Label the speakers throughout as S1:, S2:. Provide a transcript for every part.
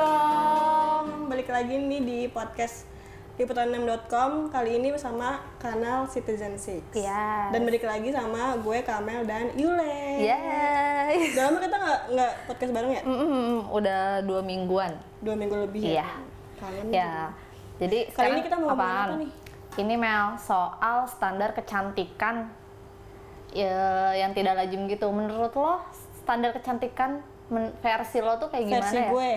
S1: liputan6.com balik lagi nih di podcast liputan6.com kali ini bersama kanal Citizen Six
S2: Yes.
S1: dan balik lagi sama gue Kamel dan Yule
S2: Ya. Iya. Yeay.
S1: udah lama kita nggak nggak podcast bareng ya
S2: Mm-mm, udah dua mingguan.
S1: dua minggu lebih ya?
S2: Iya.
S1: kalian
S2: Ya. Jadi
S1: Kali ini
S2: sekarang
S1: kita mau ngomongin
S2: apaan?
S1: apa nih?
S2: Ini Mel soal standar kecantikan ya, yang tidak lazim gitu. Menurut lo standar kecantikan men- versi lo tuh kayak gimana
S1: versi
S2: ya?
S1: gue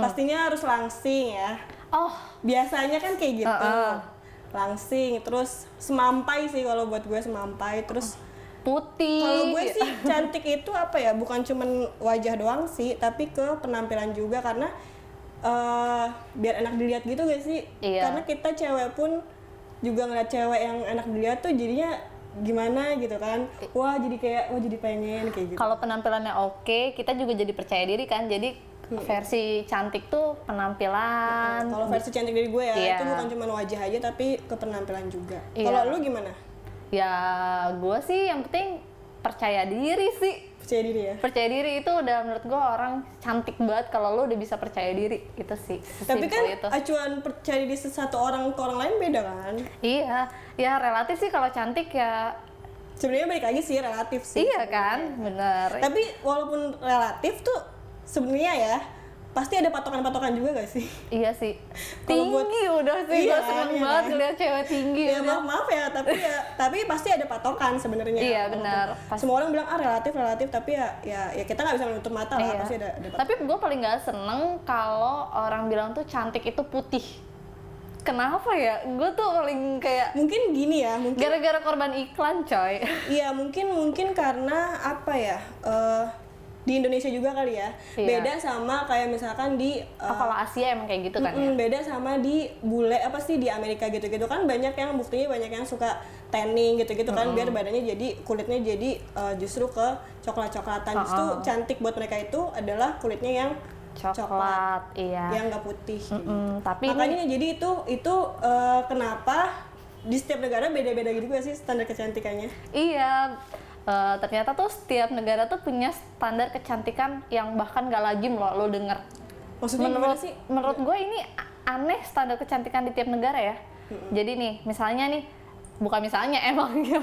S1: pastinya harus langsing ya
S2: Oh,
S1: biasanya kan kayak gitu
S2: Heeh.
S1: langsing terus semampai sih kalau buat gue semampai terus
S2: putih.
S1: Kalau gue sih cantik itu apa ya? Bukan cuman wajah doang sih, tapi ke penampilan juga karena eh biar enak dilihat gitu gak sih?
S2: Iya.
S1: Karena kita cewek pun juga ngeliat cewek yang enak dilihat tuh jadinya gimana gitu kan? Wah jadi kayak wah jadi pengen kayak gitu.
S2: Iya. Kalau penampilannya oke, kita juga jadi percaya diri kan. Jadi
S1: Iya.
S2: versi cantik tuh penampilan.
S1: Kalau versi cantik dari gue ya
S2: Kan. Iya.
S1: itu bukan cuman wajah aja tapi ke penampilan juga.
S2: Iya.
S1: Kalau lu gimana?
S2: Ya, gue sih yang penting percaya diri sih.
S1: Percaya diri ya?
S2: Percaya diri itu udah menurut gue orang cantik banget kalau lo udah bisa percaya diri gitu sih.
S1: Tapi kan
S2: Sesimpel itu.
S1: acuan percaya diri satu orang ke orang lain beda kan?
S2: Iya, ya relatif sih kalau cantik ya.
S1: Sebenarnya balik lagi sih relatif sih.
S2: Iya kan, bener.
S1: Tapi walaupun relatif tuh sebenarnya ya pasti ada patokan-patokan juga gak sih?
S2: Iya sih.
S1: Kalau buat-
S2: Tinggi udah sih,
S1: Iya,
S2: gue seneng
S1: iya.
S2: banget ngeliat cewek tinggi.
S1: Ya
S2: udah.
S1: maaf maaf ya, tapi ya tapi pasti ada patokan sebenarnya.
S2: Iya, benar. Pasti.
S1: Semua orang bilang ah relatif relatif tapi ya ya, ya kita nggak bisa menutup mata lah
S2: Iya.
S1: pasti ada, ada patokan.
S2: Tapi gue paling nggak seneng kalau orang bilang tuh cantik itu putih. Kenapa ya? Gue tuh paling kayak
S1: Mungkin gini ya, mungkin
S2: gara-gara korban iklan coy.
S1: Iya mungkin mungkin karena apa ya eh, di Indonesia juga kali ya
S2: Iya.
S1: beda sama kayak misalkan di eh,
S2: Oh, kalau Asia emang kayak gitu kan ya?
S1: Mm, beda sama di bule apa sih di Amerika gitu-gitu kan banyak yang buktinya banyak yang suka tanning gitu-gitu kan biar badannya jadi kulitnya jadi uh, justru ke coklat-coklatan justru cantik buat mereka itu adalah kulitnya yang
S2: Coklat, iya.
S1: yang nggak putih kayak gitu.
S2: Mm, tapi ini
S1: makanya jadi itu itu uh, kenapa di setiap negara beda-beda gitu gak sih standar kecantikannya
S2: iya eh, ternyata tuh setiap negara tuh punya standar kecantikan yang bahkan gak lazim loh lo denger.
S1: maksudnya
S2: Menurut
S1: gimana sih
S2: menurut gue ini a- aneh standar kecantikan di tiap negara ya. Jadi nih misalnya nih bukan misalnya emangnya.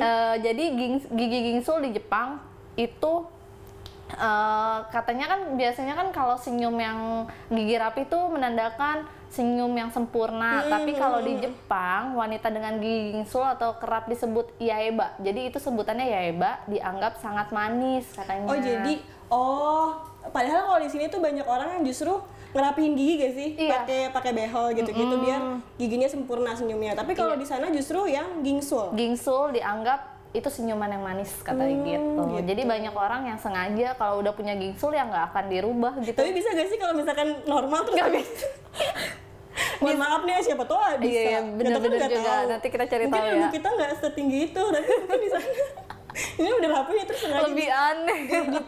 S2: Eh, jadi ging- gigi gingsul di Jepang itu eh, katanya kan biasanya kan kalau senyum yang gigi rapi itu menandakan senyum yang sempurna. Tapi kalau di Jepang wanita dengan gigi gingsul atau kerap disebut yaeba. Jadi itu sebutannya yaeba dianggap sangat manis katanya.
S1: oh jadi oh padahal kalau di sini tuh banyak orang yang justru ngerapihin gigi gak sih
S2: Iya.
S1: pakai pakai behel gitu-gitu biar giginya sempurna senyumnya tapi kalau
S2: Iya.
S1: di sana justru yang gingsul
S2: gingsul dianggap itu senyuman yang manis
S1: Hmm,
S2: katanya gitu. Jadi banyak orang yang sengaja kalau udah punya gingsul ya nggak akan dirubah gitu.
S1: tapi bisa gak sih kalau misalkan normal terus nggak bisa Mohon maaf nih siapa tahu ada bisa.
S2: Iya, iya,
S1: Kita
S2: bener-bener
S1: nggak
S2: juga.
S1: tahu.
S2: Nanti kita cari
S1: mungkin
S2: tahu
S1: ilmu
S2: ya.
S1: kita nggak setinggi itu, tapi mungkin di sana ini udah rapi ya terus sengaja
S2: Lebih aneh.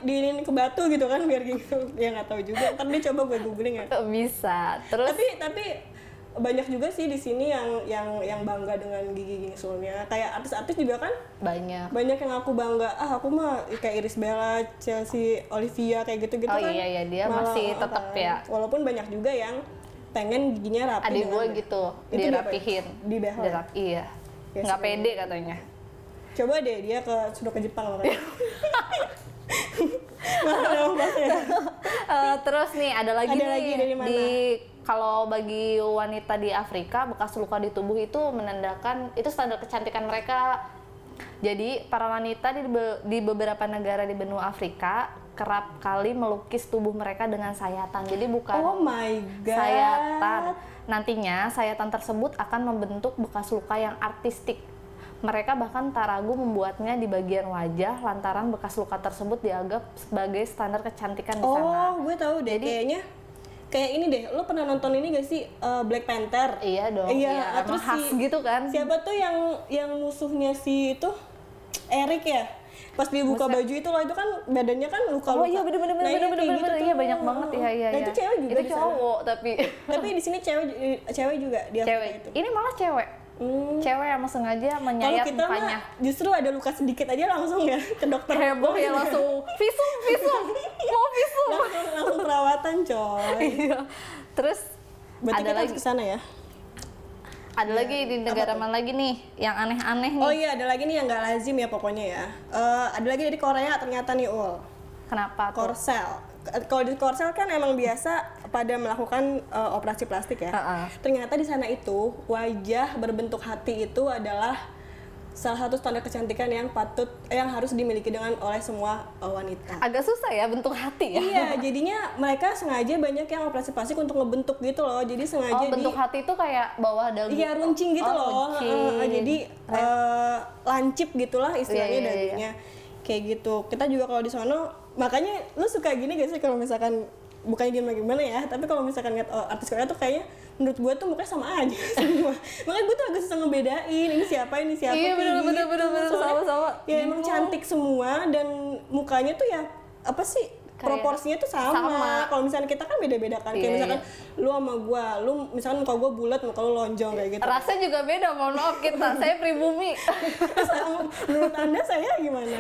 S1: diinin ke batu gitu kan biar gingsul. Ya nggak tahu juga. Ntar dia coba gue googling ya.
S2: Bisa. Terus
S1: tapi tapi banyak juga sih di sini yang yang yang bangga dengan gigi gingsulnya kayak artis-artis juga kan
S2: banyak.
S1: banyak yang aku bangga ah aku mah kayak Iris Bella Chelsea Olivia kayak gitu gitu
S2: Oh
S1: kan
S2: iya, iya, dia masih
S1: ah,
S2: tetap
S1: kan.
S2: ya.
S1: walaupun banyak juga yang pengen giginya rapi
S2: Adik
S1: dengan-
S2: gue gitu
S1: Itu
S2: dirapihin.
S1: diapain? Di behel?
S2: Dirap- iya.
S1: Ya,
S2: Nggak
S1: sebenarnya.
S2: pede katanya.
S1: coba deh dia ke sudah ke Jepang makanya Mana ada ombaknya?
S2: Eh, terus nih ada lagi
S1: Ada
S2: nih
S1: lagi dari mana?
S2: di kalau bagi wanita di Afrika bekas luka di tubuh itu menandakan itu standar kecantikan mereka. Jadi para wanita di, be- di beberapa negara di benua Afrika kerap kali melukis tubuh mereka dengan sayatan. Jadi bukan
S1: oh my god
S2: sayatan. Nantinya sayatan tersebut akan membentuk bekas luka yang artistik. Mereka bahkan tak ragu membuatnya di bagian wajah lantaran bekas luka tersebut dianggap sebagai standar kecantikan di sana.
S1: oh gue tahu deh kayaknya kayak ini deh lo pernah nonton ini gak sih eh, Black Panther
S2: Iya dong.
S1: Iya,
S2: emang
S1: terus
S2: khas
S1: si-
S2: gitu kan.
S1: siapa tuh yang yang musuhnya si itu Eric ya pas dia buka baju itu loh itu kan badannya kan luka luka
S2: Oh iya bener bener bener bener bener bener. iya banyak banget ya iya
S1: gitu nah,
S2: iya.
S1: itu cewek juga
S2: Itu
S1: di sana.
S2: cowok tapi
S1: tapi di sini cewek cewek juga dia
S2: cewek.
S1: itu
S2: Ini malah cewek.
S1: Hmm.
S2: Cewek yang sengaja
S1: gitu. Kalau
S2: menyayat
S1: kita
S2: mukanya.
S1: mah justru ada luka sedikit aja langsung ya ke dokter.
S2: Heboh ya langsung visum, visum, mau visum.
S1: langsung, langsung perawatan coy.
S2: Iya. Terus
S1: Berarti
S2: ada
S1: kita
S2: lagi
S1: harus ke sana ya.
S2: ada lagi di negara mana lagi nih yang aneh-aneh nih.
S1: Iya. Oh iya ada lagi nih yang nggak lazim ya pokoknya ya. Eh, ada lagi dari Korea ternyata nih ul.
S2: Kenapa tuh?
S1: Korsel. K- Kalau di Korsel kan emang biasa pada melakukan eh, operasi plastik ya.
S2: Ha-ha.
S1: Ternyata di sana itu wajah berbentuk hati itu adalah salah satu standar kecantikan yang patut yang harus dimiliki dengan oleh semua eh, wanita.
S2: Agak susah ya bentuk hati ya.
S1: Iya, jadinya mereka sengaja banyak yang operasi plastik untuk ngebentuk gitu loh. Jadi sengaja
S2: Oh,
S1: di-
S2: bentuk hati itu kayak bawah dagu.
S1: Iya runcing gitu
S2: Oh,
S1: loh.
S2: runcing.
S1: Heeh, jadi eh, lancip gitulah istilahnya
S2: Iya, iya, iya,
S1: dagunya. Kayak gitu. Kita juga kalau di sono makanya lu suka gini gak sih kalau misalkan bukannya gimana gimana ya, tapi kalau misalkan lihat oh, artis Korea tuh kayaknya menurut gue tuh mukanya sama aja semua. makanya gue tuh agak susah ngebedain ini siapa ini siapa
S2: Iya,
S1: kayak
S2: bener, bener, bener, bener,
S1: Soalnya
S2: sama-sama.
S1: Ya emang cantik semua dan mukanya tuh ya apa sih
S2: Kayak
S1: proporsinya tuh sama.
S2: sama.
S1: Kalau misalnya kita kan beda-beda kan.
S2: Iya,
S1: Kayak misalkan lu sama gua, lu misalkan muka gua bulat, muka lu lonjong kayak gitu.
S2: Rasanya juga beda, mohon maaf kita. Saya pribumi.
S1: Terus, um, menurut anda saya gimana?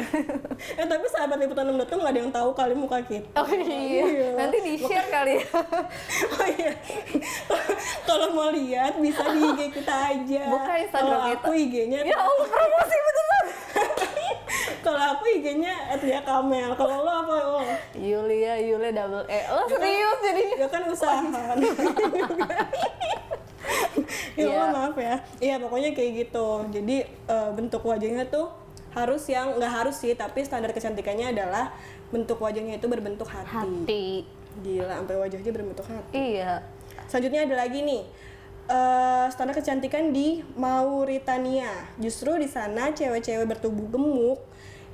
S1: eh tapi sahabat liputan 6.com nggak ada yang tahu kali muka kita.
S2: Oh iya. Nanti di-share kali ya.
S1: Oh iya. Kalau mau lihat bisa di IG kita aja.
S2: Buka Instagram
S1: Kalau aku IG-nya
S2: ya Allah, promosi beneran.
S1: kalau aku IG-nya @yakamel. Kalau lo apa lo?
S2: Yulia, Yulia double E. Lo serius jadinya?
S1: Ya kan usaha. ya Allah,
S2: Iya.
S1: maaf ya. Iya pokoknya kayak gitu. Jadi eh, bentuk wajahnya tuh harus yang nggak harus sih, tapi standar kecantikannya adalah bentuk wajahnya itu berbentuk hati.
S2: Hati.
S1: Gila, sampai wajahnya berbentuk hati.
S2: Iya.
S1: Selanjutnya ada lagi nih. eh, standar kecantikan di Mauritania. Justru di sana cewek-cewek bertubuh gemuk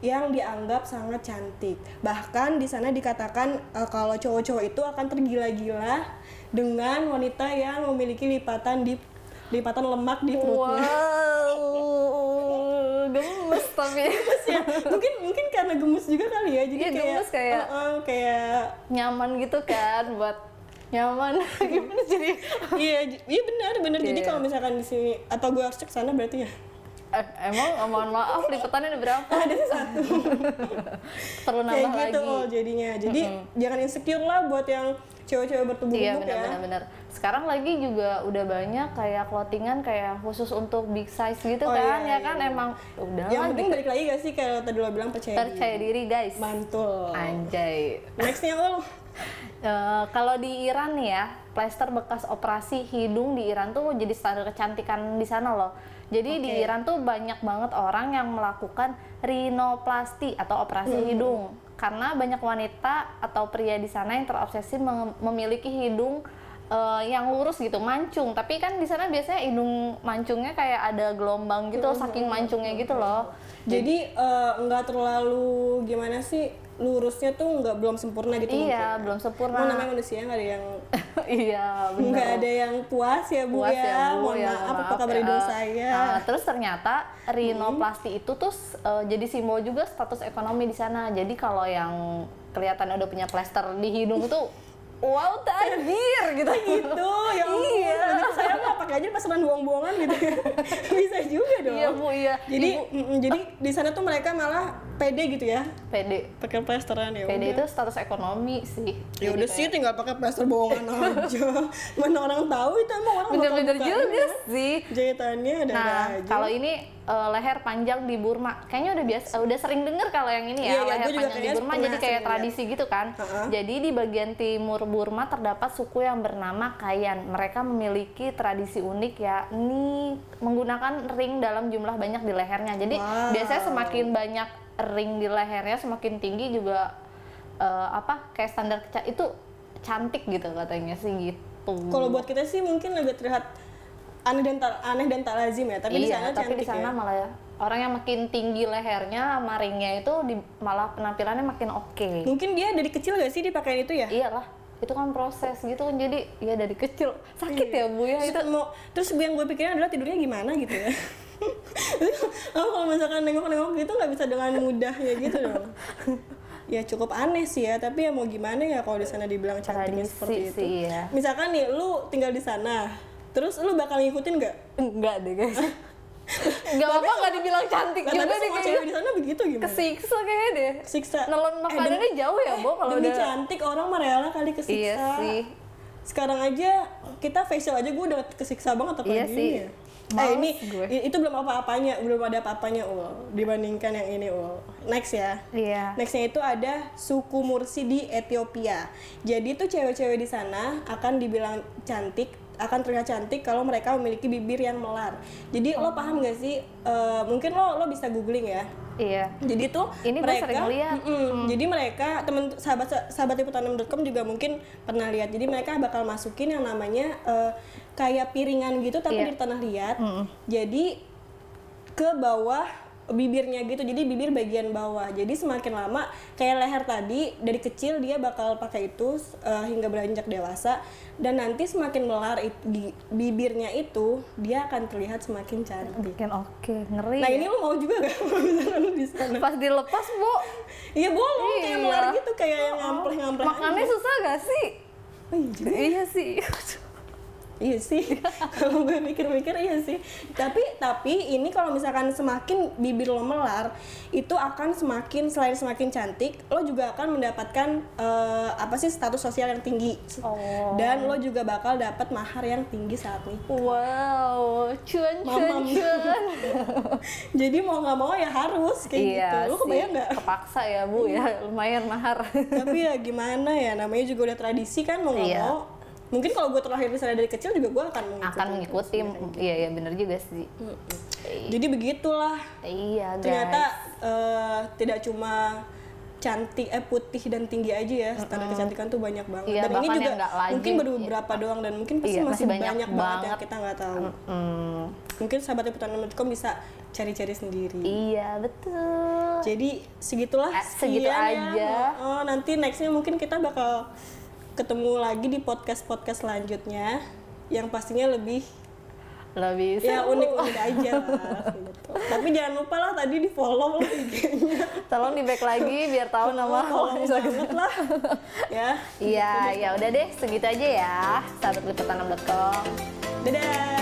S1: yang dianggap sangat cantik. Bahkan di sana dikatakan eh, kalau cowok-cowok itu akan tergila-gila dengan wanita yang memiliki lipatan di lipatan lemak di perutnya.
S2: Wow. Gemes tapi.
S1: Ya, mungkin mungkin karena gemes juga kali ya. Jadi
S2: Iya,
S1: kayak
S2: gemes kayak-
S1: eh, eh, kayak
S2: Nyaman gitu kan buat nyaman. Gimana jadi?
S1: iya j- iya benar benar.
S2: Iya.
S1: Jadi kalau misalkan di sini atau gue harus cek sana berarti ya.
S2: Eh, emang mohon maaf lipetannya ada berapa? Ada satu. Perlu
S1: kayak
S2: nambah
S1: gitu
S2: lagi.
S1: Ol, jadinya jadi jangan insecure lah buat yang cewek-cewek bertubuh
S2: Iya
S1: gemuk ya
S2: benar-benar. Sekarang lagi juga udah banyak kayak clothingan kayak khusus untuk big size gitu
S1: Oh,
S2: kan ya
S1: iya,
S2: kan emang udah
S1: yang
S2: lah
S1: penting
S2: gitu.
S1: balik lagi gak sih kayak tadi lo bilang percaya diri
S2: percaya diri guys.
S1: mantul
S2: Anjay.
S1: nextnya lo
S2: Eh, kalau di Iran nih ya, plester bekas operasi hidung di Iran tuh jadi standar kecantikan di sana loh. Jadi di
S1: Oke.
S2: Iran tuh banyak banget orang yang melakukan rinoplasti atau operasi hidung karena banyak wanita atau pria di sana yang terobsesi mem- memiliki hidung eh, yang lurus gitu, mancung. Tapi kan di sana biasanya hidung mancungnya kayak ada gelombang gitu, saking mancungnya gitu loh.
S1: jadi eh, nggak terlalu gimana sih lurusnya tuh nggak belum sempurna gitu
S2: Iya,
S1: mungkin.
S2: belum sempurna.
S1: Emang namanya manusia nggak ada yang
S2: iya, benar.
S1: nggak ada yang puas ya bu
S2: Puas
S1: ya,
S2: Bu,
S1: mohon
S2: ya,
S1: maaf apa
S2: maaf
S1: kabar
S2: ya.
S1: hidung saya Hmm.
S2: Nah, terus ternyata rinoplasti itu tuh eh, jadi simbol juga status ekonomi di sana. Jadi kalau yang kelihatan udah punya plester di hidung tuh wow tajir gitu.
S1: gitu ya ampun
S2: Iya.
S1: kalau gitu saya mah pakai aja pesanan bohong-bohongan gitu ya bisa juga dong
S2: Iya, Bu, iya.
S1: jadi mm, jadi di sana tuh mereka malah pede gitu ya
S2: PD.
S1: pakai plasteran ya
S2: PD itu
S1: udah
S2: status ekonomi sih.
S1: ya udah sih tinggal pakai plaster bohongan aja mana orang tahu itu emang orang bakal
S2: Bener-bener
S1: buka
S2: juga sih.
S1: jahitannya ada ada
S2: Nah,
S1: aja
S2: kalau ini eh, leher panjang di Burma, kayaknya udah biasa, eh, udah sering denger kalau yang ini
S1: Iya,
S2: ya
S1: iya,
S2: leher
S1: gua
S2: panjang
S1: juga
S2: di
S1: kayaknya
S2: Burma,
S1: pernah
S2: jadi kayak
S1: sering
S2: tradisi gitu kan.
S1: Heeh.
S2: Jadi di bagian timur Burma terdapat suku yang bernama Kayan. Mereka memiliki tradisi unik yakni menggunakan ring dalam jumlah banyak di lehernya. Jadi
S1: Wow.
S2: biasanya semakin banyak ring di lehernya, semakin tinggi juga eh, apa kayak standar keca- itu cantik gitu katanya sih gitu.
S1: kalau buat kita sih mungkin agak terlihat aneh dan tak aneh dan tak lazim ya tapi di
S2: iya,
S1: sana
S2: tapi
S1: cantik
S2: di sana
S1: ya
S2: malah ya orang yang makin tinggi lehernya sama ringnya itu di- malah penampilannya makin oke.
S1: mungkin dia dari kecil gak sih dipakai itu ya
S2: Iyalah, itu kan proses gitu kan jadi ya dari kecil sakit ya
S1: Iya.
S2: Bu ya
S1: terus
S2: itu.
S1: mau terus gue yang gue pikirin adalah tidurnya gimana gitu ya Aku kalau misalkan nengok-nengok gitu nggak bisa dengan mudah ya gitu dong ya cukup aneh sih ya tapi ya mau gimana ya kalau di sana dibilang cantiknya
S2: Tradisi
S1: seperti itu
S2: sih, iya.
S1: misalkan nih lu tinggal di sana Terus lu bakal ngikutin nggak?
S2: Enggak deh guys. Enggak apa-apa enggak dibilang cantik
S1: Lah,
S2: juga
S1: tapi
S2: deh
S1: semua cewek di
S2: kayaknya.
S1: sana begitu gimana?
S2: Kesiksa kayaknya deh.
S1: Siksa.
S2: Nelon
S1: Eh,
S2: makanannya
S1: demi-
S2: jauh ya, Bo, kalau
S1: Demi
S2: udah
S1: cantik orang merela kali kesiksa.
S2: Iya sih.
S1: Sekarang aja kita facial aja gue udah kesiksa banget apalagi
S2: Iya
S1: ini
S2: sih.
S1: ya. Eh
S2: Males
S1: ini
S2: gue.
S1: i- itu belum apa-apanya, belum ada apa-apanya Ul dibandingkan yang ini Ul. Next ya.
S2: Iya.
S1: Nextnya itu ada suku Mursi di Ethiopia. Jadi tuh cewek-cewek di sana akan dibilang cantik, akan terlihat cantik kalau mereka memiliki bibir yang melar. Jadi
S2: Oh.
S1: lo paham gak sih? Eh, mungkin lo lo bisa googling ya.
S2: Iya.
S1: Jadi tuh
S2: Ini gua
S1: mereka,
S2: sering lihat. Hmm.
S1: Mm-mm. jadi mereka teman sahabat sahabat liputan6.com juga mungkin pernah lihat. Jadi mereka bakal masukin yang namanya eh, kayak piringan gitu tapi
S2: Iya.
S1: di tanah liat. Jadi ke bawah bibirnya gitu. Jadi bibir bagian bawah. Jadi semakin lama kayak leher tadi dari kecil dia bakal pakai itu eh, hingga beranjak dewasa dan nanti semakin melar it- gi- bibirnya itu dia akan terlihat semakin cantik.
S2: Mungkin oke, ngeri.
S1: Nah
S2: ya.
S1: ini lo mau juga gak Kalau misalkan lu di sana?
S2: pas dilepas, Bu,
S1: Iya bolong kayak
S2: Iya.
S1: melar gitu kayak yang ngampleh-ngampleh.
S2: makannya susah gak sih?
S1: Oh, iya juga.
S2: Iya sih.
S1: Iya sih. kalau gue mikir-mikir iya sih. Tapi tapi ini kalau misalkan semakin bibir lo melar, itu akan semakin selain semakin cantik, lo juga akan mendapatkan eh, apa sih status sosial yang tinggi.
S2: Oh.
S1: Dan lo juga bakal dapat mahar yang tinggi saat nikah.
S2: Wow, cuan cuan
S1: Mamam.
S2: cuan.
S1: Jadi mau nggak mau ya harus kayak
S2: Iya
S1: gitu. Lo kebayang nggak? Iya.
S2: Kepaksa ya, Bu ya. Lumayan mahar.
S1: tapi ya gimana ya namanya juga udah tradisi kan mau nggak
S2: Iya.
S1: mau mungkin kalau gue terlahir di sana dari kecil juga gue akan mengikuti
S2: Akan mengikuti. Iya, iya bener juga sih.
S1: jadi begitulah
S2: Iya, guys.
S1: ternyata eh, tidak cuma cantik eh putih dan tinggi aja ya standar kecantikan tuh banyak banget
S2: Iya,
S1: dan ini
S2: bahkan
S1: juga
S2: yang nggak lazim,
S1: mungkin baru beberapa doang dan mungkin pasti
S2: Iya,
S1: masih,
S2: masih banyak
S1: banyak banget yang
S2: banget.
S1: kita nggak tahu
S2: Hmm,
S1: mungkin sahabat liputan.com bisa cari-cari sendiri
S2: iya, betul.
S1: Jadi segitulah
S2: Eh, segitu
S1: sekian ya.
S2: aja.
S1: Oh, nanti nextnya mungkin kita bakal ketemu lagi di podcast podcast selanjutnya yang pastinya lebih
S2: Lebih
S1: ya
S2: seru.
S1: unik-unik aja lah. gitu. Tapi jangan lupa lah tadi di follow lah IG-nya.
S2: Tolong di back lagi biar tahu nama
S1: Follow
S2: gitu.
S1: banget lah. Ya.
S2: Iya, ya udah deh, segitu aja ya. Sahabat liputan6.com.
S1: Dadah.